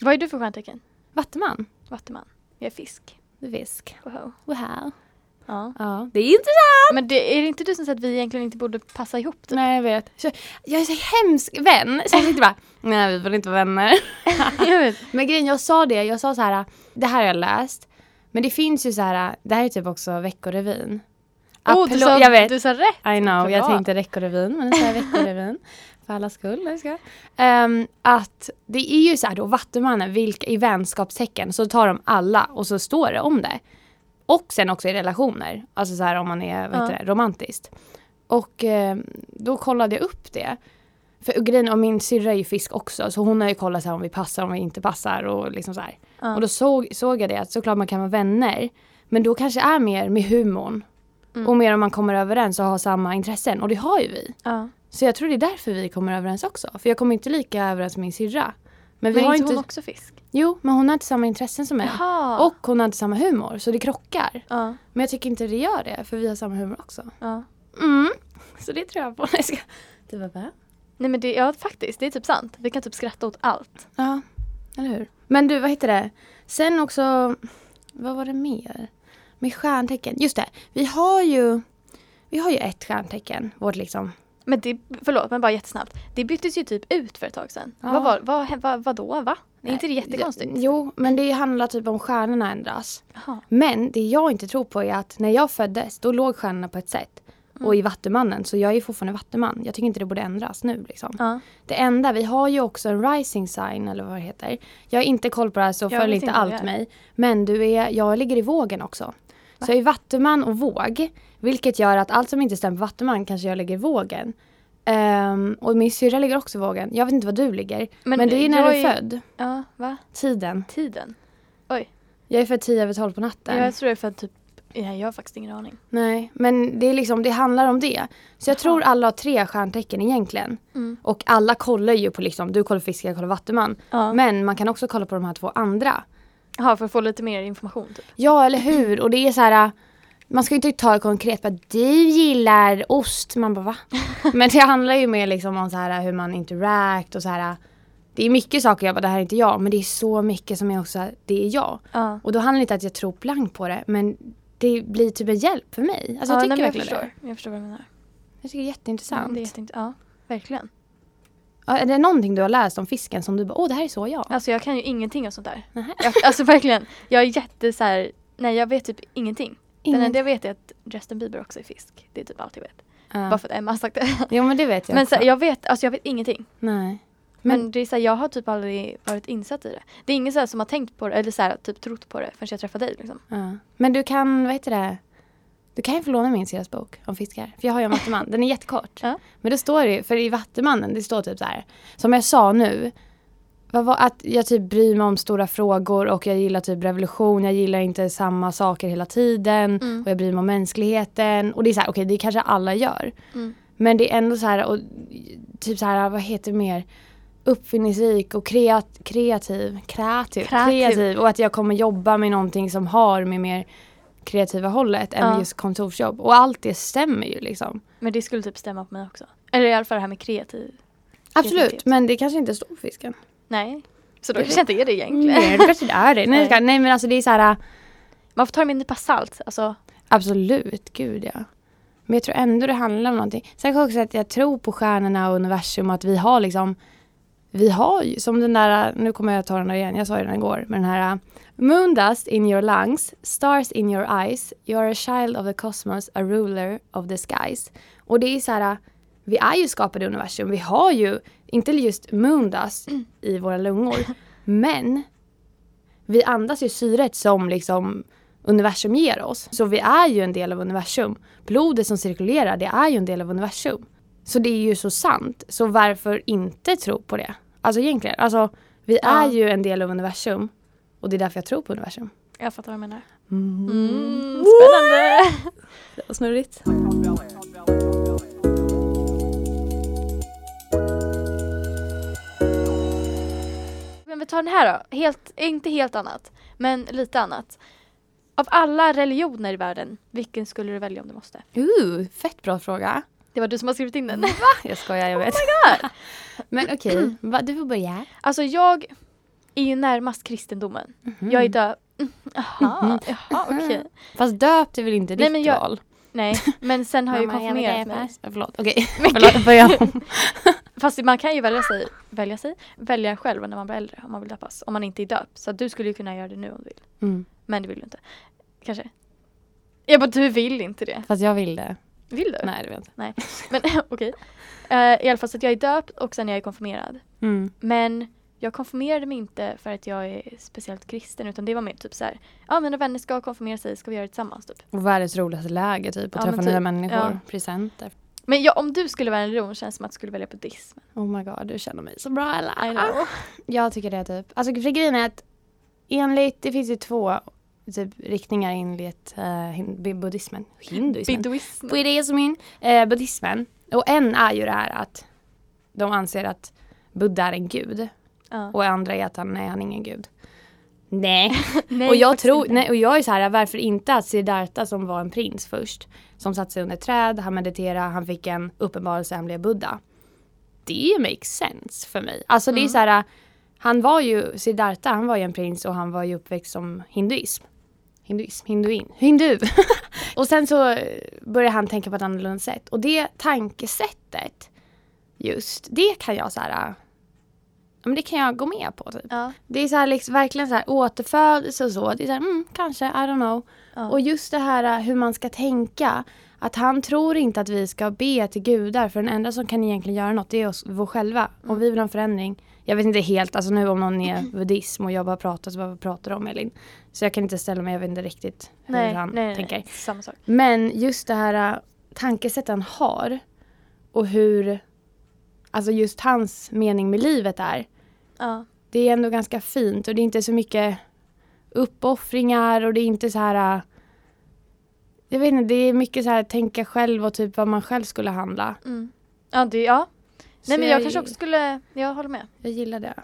Speaker 2: Vad är du för stjärntecken?
Speaker 3: Vattuman,
Speaker 2: Vattuman. Jag är fisk.
Speaker 3: du fisk.
Speaker 2: Wow.
Speaker 3: Wow.
Speaker 2: Ja.
Speaker 3: Ja, det är intressant!
Speaker 2: Men det, är det inte du som säger att vi egentligen inte borde passa ihop? Typ?
Speaker 3: Nej jag vet. Så, jag är så hemsk vän. Så jag tänkte bara, nej vi får inte vara vänner.
Speaker 2: jag vet.
Speaker 3: Men grejen, jag sa det, jag sa så här, det här har jag läst. Men det finns ju så här, det här är typ också Veckorevyn.
Speaker 2: Oh, du,
Speaker 3: Apello-
Speaker 2: sa,
Speaker 3: jag vet,
Speaker 2: du sa rätt!
Speaker 3: I know,
Speaker 2: Bra.
Speaker 3: jag tänkte Veckorevyn, men det är så här Veckorevyn. för alla skull. Nej, jag ska. Ehm, att det är ju så här då, Vattumannen, vilka, i vänskapstecken så tar de alla och så står det om det. Och sen också i relationer, alltså så här om man är vad heter
Speaker 2: Ja.
Speaker 3: det, romantiskt. Och ehm, då kollade jag upp det. För grejen och min syrra är ju fisk också så hon har ju kollat så här om vi passar, om vi inte passar och liksom så här.
Speaker 2: Ja.
Speaker 3: Och då såg, såg jag det att såklart man kan vara vänner men då kanske är mer med humorn.
Speaker 2: Mm.
Speaker 3: Och mer om man kommer överens och har samma intressen och det har ju vi.
Speaker 2: Ja.
Speaker 3: Så jag tror det är därför vi kommer överens också. För jag kommer inte lika överens med min syrra. Men vi
Speaker 2: Men
Speaker 3: har
Speaker 2: inte
Speaker 3: inte...
Speaker 2: hon också fisk?
Speaker 3: Jo, men hon har inte samma intressen som mig.
Speaker 2: Jaha.
Speaker 3: Och hon har inte samma humor, så det krockar.
Speaker 2: Ja,
Speaker 3: Men jag tycker inte det gör det, för vi har samma humor också.
Speaker 2: ja.
Speaker 3: Mm. Så det tror jag på. Jag ska... Du bara, va?
Speaker 2: Nej men det, ja faktiskt, det är typ sant. Vi kan typ skratta åt allt.
Speaker 3: Ja, eller hur? Men du, vad heter det? Sen också, vad var det mer? Med stjärntecken. Just det, vi har ju, vi har ju ett stjärntecken. Vårt liksom.
Speaker 2: Men det, förlåt men bara jättesnabbt. Det byttes ju typ ut för ett tag sedan.
Speaker 3: Ja.
Speaker 2: Vad, var, vad, vad, vadå va? Är inte det jättekonstigt?
Speaker 3: Jo, men det handlar typ om stjärnorna ändras.
Speaker 2: Jaha.
Speaker 3: Men det jag inte tror på är att när jag föddes, då låg stjärnorna på ett sätt.
Speaker 2: Mm.
Speaker 3: Och i Vattumannen, så jag är ju fortfarande Vattuman. Jag tycker inte det borde ändras nu liksom.
Speaker 2: Ja.
Speaker 3: Det enda, vi har ju också en rising sign eller vad det heter. Jag har inte koll på det här så
Speaker 2: vet
Speaker 3: följ inte
Speaker 2: inte vad det
Speaker 3: allt
Speaker 2: är.
Speaker 3: mig. Men du är, jag ligger i vågen också. Så jag är vattuman och våg. Vilket gör att allt som inte stämmer på vattuman kanske jag ligger i vågen. Ehm, och min syrra ligger också i vågen. Jag vet inte vad du ligger. Men,
Speaker 2: Men
Speaker 3: det är när
Speaker 2: jag
Speaker 3: du är
Speaker 2: är-
Speaker 3: född.
Speaker 2: Ja, va?
Speaker 3: Tiden.
Speaker 2: Tiden? Oj.
Speaker 3: Jag är född 10 över 12 på natten.
Speaker 2: Jag tror jag är född typ... Nej jag har faktiskt ingen aning.
Speaker 3: Nej, men det, är liksom, det handlar om det. Så jag
Speaker 2: Jaha.
Speaker 3: tror alla har tre stjärntecken egentligen.
Speaker 2: Mm.
Speaker 3: Och alla kollar ju på liksom, du kollar fisk, jag kollar vattuman.
Speaker 2: Ja.
Speaker 3: Men man kan också kolla på de här två andra.
Speaker 2: Jaha, för att få lite mer information typ.
Speaker 3: Ja, eller hur? Och det är så här, man ska ju inte ta det konkret, bara, du gillar ost. Man bara va? Men det handlar ju mer liksom om så här, hur man interact och så här. Det är mycket saker jag bara, det här är inte jag. Men det är så mycket som är också, det är jag.
Speaker 2: Ja.
Speaker 3: Och då handlar det inte att jag tror blankt på det, men det blir typ en hjälp för mig. Alltså jag tycker
Speaker 2: nej, men jag
Speaker 3: verkligen det.
Speaker 2: förstår. Jag förstår vad du menar.
Speaker 3: Jag tycker det är
Speaker 2: Ja,
Speaker 3: jätteintressant.
Speaker 2: Det är jätteint- ja, verkligen.
Speaker 3: Ja, är det någonting du har läst om fisken som du bara, åh det här är så jag?
Speaker 2: Alltså jag kan ju ingenting om sånt där.
Speaker 3: Nähä.
Speaker 2: Jag, alltså verkligen. Jag är jätte så här, nej jag vet typ ingenting.
Speaker 3: Ingen-
Speaker 2: Den enda jag vet är att Justin Bieber också är fisk. Det är typ allt jag vet.
Speaker 3: Ja.
Speaker 2: Bara för att Emma har sagt det.
Speaker 3: Jo men det vet jag
Speaker 2: Men så här,
Speaker 3: också.
Speaker 2: jag vet, alltså jag vet ingenting.
Speaker 3: Nej.
Speaker 2: Men,
Speaker 3: Men-
Speaker 2: det är så här, jag har typ aldrig varit insatt i det. Det är ingen så här som har tänkt på det eller så här, typ trott på det förrän jag träffade dig liksom.
Speaker 3: Ja. Men du kan, vad heter det? Du kan ju få låna min syrras bok om fiskar. För jag har ju en vattenman. Den är jättekort.
Speaker 2: Ja.
Speaker 3: Men det står ju, för i Vattenmannen, det står typ så här. Som jag sa nu. Vad var, att jag typ bryr mig om stora frågor och jag gillar typ revolution. Jag gillar inte samma saker hela tiden.
Speaker 2: Mm.
Speaker 3: Och jag bryr mig om mänskligheten. Och det är så här, okej det kanske alla gör.
Speaker 2: Mm.
Speaker 3: Men det är ändå så här, och, typ så här, vad heter det mer? Uppfinningsrik och kreat, kreativ. Kreativ.
Speaker 2: Kreativ.
Speaker 3: kreativ. Och att jag kommer jobba med någonting som har med mer kreativa hållet än
Speaker 2: Ja.
Speaker 3: just kontorsjobb. Och allt det stämmer ju liksom.
Speaker 2: Men det skulle typ stämma på mig också. Eller i alla fall det här med kreativ. Kreativitet.
Speaker 3: Absolut, men det kanske inte står på fisken.
Speaker 2: Nej. Så då kanske jag inte är det egentligen.
Speaker 3: Nej, det kanske det är det. Mm. Nej, jag
Speaker 2: Nej.
Speaker 3: ska- nej men alltså det är så här,
Speaker 2: Man får ta det med en nypa salt. Alltså,
Speaker 3: absolut, gud ja. Men jag tror ändå det handlar om någonting. Sen kan jag också att jag tror på stjärnorna och universum och att vi har liksom, vi har ju som den där, äh, nu kommer jag ta den där igen, jag sa ju den igår, men den här Moondust in your lungs, stars in your eyes, you are a child of the cosmos, a ruler of the skies. Och det är så här, äh, vi är ju skapade i universum, vi har ju, inte just moondust i våra lungor, men vi andas ju syret som liksom universum ger oss. Så vi är ju en del av universum. Blodet som cirkulerar, det är ju en del av universum. Så det är ju så sant. Så varför inte tro på det? Alltså egentligen, alltså vi
Speaker 2: Ja.
Speaker 3: är ju en del av universum. Och det är därför jag tror på universum.
Speaker 2: jag fattar vad du menar. Mm, spännande!
Speaker 3: Snurrigt.
Speaker 2: Men vi tar den här då. Helt, inte helt annat, men lite annat. Av alla religioner i världen, vilken skulle du välja om du måste?
Speaker 3: Uh, fett bra fråga.
Speaker 2: Det var du som har skrivit in den.
Speaker 3: Ah, Jag skojar, jag vet.
Speaker 2: Oh God.
Speaker 3: Men okej, va- du får börja.
Speaker 2: Alltså jag är ju närmast kristendomen.
Speaker 3: Mhm.
Speaker 2: Jag är död. Jaha, jaha okej.
Speaker 3: Fast döpt är väl inte
Speaker 2: Nej,
Speaker 3: ditt
Speaker 2: men jag-
Speaker 3: val?
Speaker 2: Nej, men sen har jag ju
Speaker 3: Mamma, vill
Speaker 2: konfirmerat mig.
Speaker 3: döpas. Förlåt, okej. Förlåt, börja om.
Speaker 2: Fast man kan ju välja sig, välja sig, välja själv när man blir äldre om man vill döpas. Om man inte är döpt. Så du skulle ju kunna göra det nu om du vill.
Speaker 3: Mm.
Speaker 2: Men det vill du inte. Kanske. Jag bara, du vill inte det.
Speaker 3: Fast jag vill det.
Speaker 2: Vill du?
Speaker 3: Nej, det vet jag inte.
Speaker 2: Men okej. Eh, I alla fall så att jag är döpt och sen är jag konfirmerad.
Speaker 3: Mm.
Speaker 2: Men jag konfirmerade mig inte för att jag är speciellt kristen utan det var mer typ så här. Ja, mina vänner ska konfirmera sig, ska vi göra det tillsammans typ.
Speaker 3: Och världens roligaste läge typ, att
Speaker 2: Ja, men
Speaker 3: träffa
Speaker 2: typ.
Speaker 3: nya människor,
Speaker 2: Ja.
Speaker 3: presenter.
Speaker 2: Men ja, om du skulle välja en religion känns det som att du skulle välja buddhism.
Speaker 3: Oh my god, du känner mig så bra
Speaker 2: I
Speaker 3: eller?
Speaker 2: know.
Speaker 3: Jag tycker det typ. Alltså för grejen är att enligt, det finns ju två typ, riktningar enligt uh, hin- bu- buddhismen.
Speaker 2: typ.
Speaker 3: Hinduismen.
Speaker 2: Hinduism.
Speaker 3: Buddhismen. Eh, buddhismen. Och en är ju det här att de anser att Buddha är en gud.
Speaker 2: Ja.
Speaker 3: Och andra är att han, nej, han är ingen gud. Nej.
Speaker 2: Nej,
Speaker 3: och jag
Speaker 2: faktiskt
Speaker 3: tror,
Speaker 2: inte.
Speaker 3: nej, och jag är så här, varför inte att Siddhartha som var en prins först, som satte sig under ett träd, han mediterade, han fick en uppenbarelse, han blev Buddha. Det makes sense för mig. Alltså
Speaker 2: Mm.
Speaker 3: det är så här, han var ju, Siddhartha han var ju en prins och han var ju uppväxt som hinduism. Hinduism, hinduin, hindu. och sen så eh, började han tänka på ett annorlunda sätt. Och det tankesättet, just, det kan jag så här, eh, ja, men det kan jag gå med på typ.
Speaker 2: Ja.
Speaker 3: Det är så här, liksom, verkligen så här, återfödelse och så. Det är så här, mm, kanske, I don't know.
Speaker 2: Ja.
Speaker 3: Och just det här eh, hur man ska tänka. Att han tror inte att vi ska be till gudar för den enda som kan egentligen göra något det är oss, vår själva.
Speaker 2: Mm.
Speaker 3: Om vi vill ha en förändring. Jag vet inte helt, alltså nu om någon är buddhism och jag bara pratar så bara, vad pratar du om Elin? Så jag kan inte ställa mig, jag vet inte riktigt hur
Speaker 2: Nej,
Speaker 3: han
Speaker 2: nej, nej,
Speaker 3: tänker.
Speaker 2: nej. Samma sak.
Speaker 3: Men just det här eh, tankesättet han har och hur, alltså just hans mening med livet är
Speaker 2: Ja.
Speaker 3: det är ändå ganska fint och det är inte så mycket uppoffringar och det är inte så här äh, jag vet inte, det är mycket så här tänka själv och typ vad man själv skulle handla.
Speaker 2: Mm. Ja, det, ja. Nej
Speaker 3: Så
Speaker 2: men jag kanske också skulle, jag håller med.
Speaker 3: Jag gillar det.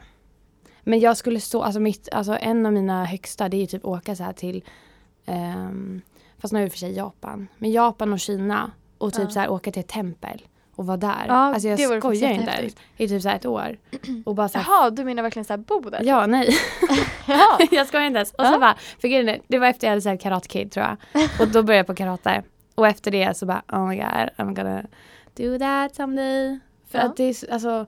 Speaker 3: Men jag skulle så, alltså, mitt, alltså en av mina högsta det är ju typ åka så här till, ehm, fast nu är det i och för sig Japan, men Japan och Kina och typ
Speaker 2: Ja.
Speaker 3: så här åka till ett tempel och vara där.
Speaker 2: Ja,
Speaker 3: alltså jag
Speaker 2: det vore faktiskt
Speaker 3: skojar inte.
Speaker 2: jättehäftigt.
Speaker 3: I typ så här ett år. Och bara så här,
Speaker 2: Jaha, du menar verkligen såhär bo där?
Speaker 3: ja nej.
Speaker 2: Ja.
Speaker 3: jag skojar inte ens. Och
Speaker 2: Ja.
Speaker 3: så bara, för grejen är, det var efter jag hade sett Karate Kid tror jag. Och då började jag på karate. Och efter det så bara, oh my god, I'm gonna do that someday. För
Speaker 2: Ja.
Speaker 3: att det är, så- alltså,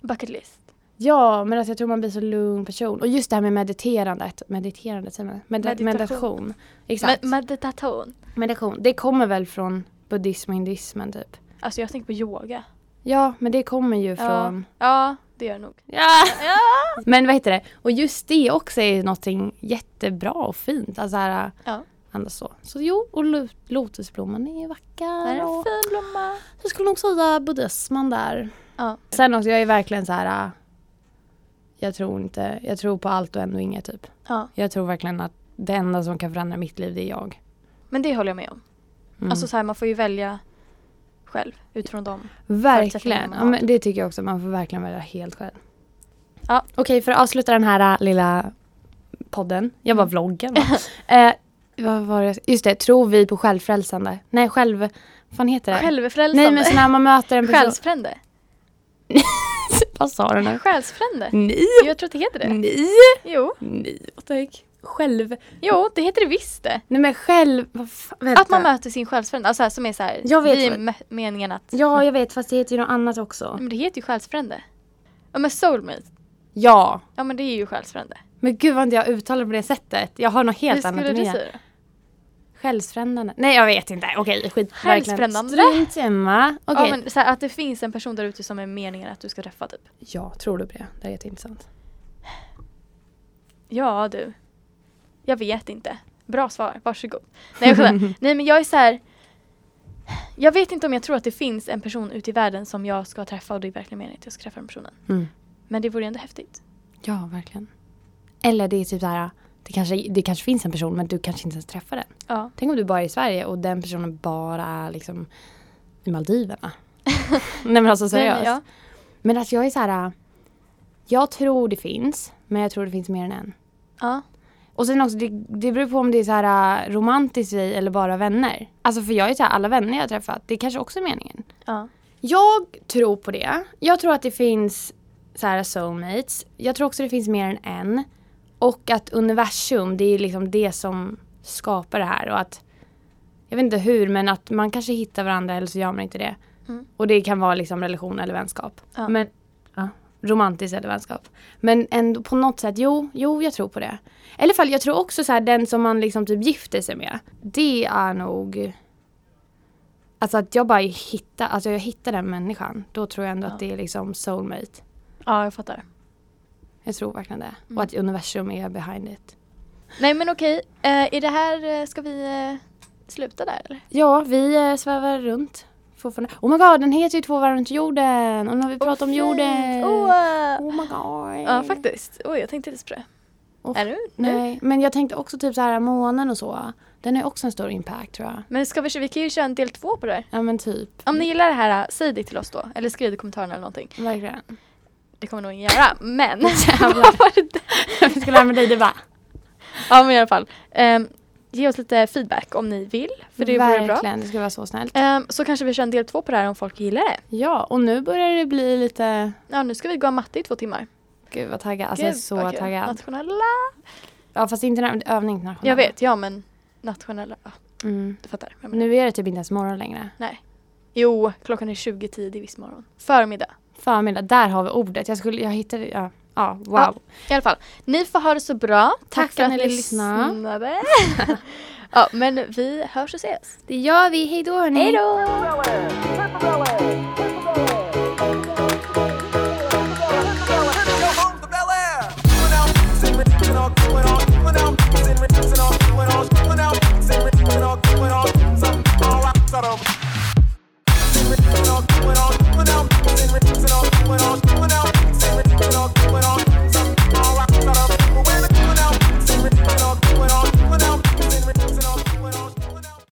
Speaker 2: Bucket list.
Speaker 3: ja men alltså jag tror man blir så lugn person. Och just det här med mediterandet, mediterandet säger man? Med,
Speaker 2: Meditation.
Speaker 3: meditation. meditation. Exakt.
Speaker 2: Med, meditation.
Speaker 3: meditation. Det kommer väl från buddhism och hinduismen typ.
Speaker 2: Alltså jag tänker på yoga.
Speaker 3: Ja, men det kommer ju
Speaker 2: Ja.
Speaker 3: från...
Speaker 2: ja, det gör jag nog.
Speaker 3: Ja.
Speaker 2: Ja.
Speaker 3: Men vad heter det? Och just det också är ju någonting jättebra och fint. Alltså här,
Speaker 2: Ja.
Speaker 3: andas så. Så jo, och lo- lotusblomman är vacker.
Speaker 2: Det är en
Speaker 3: och
Speaker 2: fin blomma.
Speaker 3: jag skulle nog säga buddhismen där.
Speaker 2: Ja.
Speaker 3: Sen också, jag är verkligen så här. äh, Jag tror inte, jag tror på allt och ändå inget typ.
Speaker 2: ja.
Speaker 3: Jag tror verkligen att det enda som kan förändra mitt liv det är jag.
Speaker 2: Men det håller jag med om.
Speaker 3: Mm.
Speaker 2: Alltså så här, man får ju välja själv utifrån dem. förutsättningar
Speaker 3: verkligen,
Speaker 2: man
Speaker 3: ja,
Speaker 2: har.
Speaker 3: men det tycker jag också. Man får verkligen välja helt själv.
Speaker 2: Ja.
Speaker 3: Okej, för att avsluta den här äh, lilla podden. Jag var vloggen. va? eh, vad var det? Just det, tror vi på självfrälsande? Nej, själv... Vad fan heter det?
Speaker 2: Självfrälsande.
Speaker 3: Nej men så när man möter en person...
Speaker 2: Själsfrände.
Speaker 3: Vad sa du nu?
Speaker 2: Själsfrände.
Speaker 3: Nej!
Speaker 2: Jo, jag tror att det heter det.
Speaker 3: Nej!
Speaker 2: Jo,
Speaker 3: Nej, what the heck? Själv...
Speaker 2: jo det heter det visst det.
Speaker 3: Nej men själv... Vad fan, vänta.
Speaker 2: Att man möter sin själsfrände. Alltså så här, som är så här.
Speaker 3: Jag vet
Speaker 2: vi är
Speaker 3: vad- Mm.
Speaker 2: me- meningen att.
Speaker 3: Ja, jag vet fast det heter ju något annat också.
Speaker 2: Men det heter ju själsfrände. Ja men soulmate.
Speaker 3: Ja.
Speaker 2: Ja men det är ju själsfrände.
Speaker 3: Men gud vad inte jag uttalar på det sättet. Jag har något helt
Speaker 2: Hur
Speaker 3: annat
Speaker 2: skulle du
Speaker 3: med.
Speaker 2: säga då?
Speaker 3: Själsfrändande. Nej jag vet inte. Okej skit. verkligen.
Speaker 2: Själsfrändande?
Speaker 3: Strunt samma. Okej.
Speaker 2: Ja, men så här, att det finns en person där ute som är meningen att du ska träffa typ.
Speaker 3: Ja, tror du på det? Det är jätteintressant.
Speaker 2: Ja du. Jag vet inte. Bra svar, varsågod. Nej jag skojar. Nej men jag är så här. Jag vet inte om jag tror att det finns en person ute i världen som jag ska träffa och det är verkligen meningen att jag ska träffa den personen.
Speaker 3: Mm.
Speaker 2: Men det vore ändå häftigt.
Speaker 3: Ja, verkligen. Eller det är typ såhär, det kanske, det kanske finns en person men du kanske inte ens träffar den.
Speaker 2: Ja.
Speaker 3: Tänk om du bara är i Sverige och den personen bara är liksom i Maldiverna. Nej men alltså seriöst.
Speaker 2: Men, ja.
Speaker 3: Men alltså jag är så här. äh, Jag tror det finns, men jag tror det finns mer än en.
Speaker 2: ja.
Speaker 3: Och sen också, det, det beror på om det är så här äh, romantiskt i eller bara vänner. Alltså för jag är så här, alla vänner jag har träffat, det kanske också är meningen.
Speaker 2: Ja.
Speaker 3: Jag tror på det. Jag tror att det finns så här soulmates. Jag tror också det finns mer än en. Och att universum, det är liksom det som skapar det här. Och att, jag vet inte hur, men att man kanske hittar varandra eller så gör man inte det.
Speaker 2: Mm.
Speaker 3: Och det kan vara liksom relation eller vänskap.
Speaker 2: Ja.
Speaker 3: Men, ja, romantiskt eller vänskap. Men ändå på något sätt, jo, jo jag tror på det. I alla fall, jag tror också så här, den som man liksom typ gifter sig med. Det är nog Alltså att jag bara hittar, alltså jag hittar den människan. Då tror jag ändå
Speaker 2: Ja.
Speaker 3: att det är liksom soulmate.
Speaker 2: Ja, jag fattar.
Speaker 3: Jag tror verkligen det.
Speaker 2: Mm.
Speaker 3: Och att universum är behind it.
Speaker 2: Nej men okej, eh, är det här, eh, ska vi eh, sluta där eller?
Speaker 3: Ja, vi eh, svävar runt. Fortfarande. Oh my god, den heter ju Två varv runt jorden. Och nu har vi pratat om
Speaker 2: Åh,
Speaker 3: jorden.
Speaker 2: fint. Åh, eh,
Speaker 3: Oh my god.
Speaker 2: Ja faktiskt. Oj jag tänkte inte på det.
Speaker 3: Åh,
Speaker 2: Är du? Nej.
Speaker 3: Nej, men jag tänkte också typ så här månen och så. Den har också en stor impact tror jag.
Speaker 2: Men ska vi, vi kan ju köra en del två på det här.
Speaker 3: Ja men typ.
Speaker 2: Om ni gillar det här, eh, säg det till oss då. Eller skriv i kommentarerna eller någonting.
Speaker 3: Verkligen.
Speaker 2: Det kommer nog ingen göra, men.
Speaker 3: Jävlar.
Speaker 2: Vad var det där?
Speaker 3: Vi ska lära med dig det va?
Speaker 2: ja men i alla fall. Ehm, ge oss lite feedback om ni vill. För det vore bra.
Speaker 3: Verkligen, det skulle vara så snällt.
Speaker 2: Ehm, så kanske vi kör en del två på det här om folk gillar det.
Speaker 3: Ja, och nu börjar det bli lite...
Speaker 2: Ja nu ska vi gå och matte i två timmar.
Speaker 3: Gud vad taggad. Alltså jag är
Speaker 2: Gud,
Speaker 3: så
Speaker 2: vad kul.
Speaker 3: taggad.
Speaker 2: Nationella.
Speaker 3: Ja fast inte när- övning internationellt.
Speaker 2: Jag vet, ja men nationella. Ja,
Speaker 3: Mm.
Speaker 2: du fattar. vad jag menar.
Speaker 3: Nu är det typ inte ens morgon längre.
Speaker 2: Nej. Jo, klockan är 20.10 i viss morgon. Förmiddag.
Speaker 3: Förmiddag, där har vi ordet. Jag skulle, jag hittade, ja. Ja, wow.
Speaker 2: Ja, I alla fall, ni får ha det så bra. Tack,
Speaker 3: Tack
Speaker 2: för
Speaker 3: att
Speaker 2: att
Speaker 3: ni
Speaker 2: ni
Speaker 3: lyssnade.
Speaker 2: lyssnade. ja, men vi hörs och ses.
Speaker 3: Det gör vi, hejdå hörni.
Speaker 2: Hej då!
Speaker 1: Timberland, Timberland.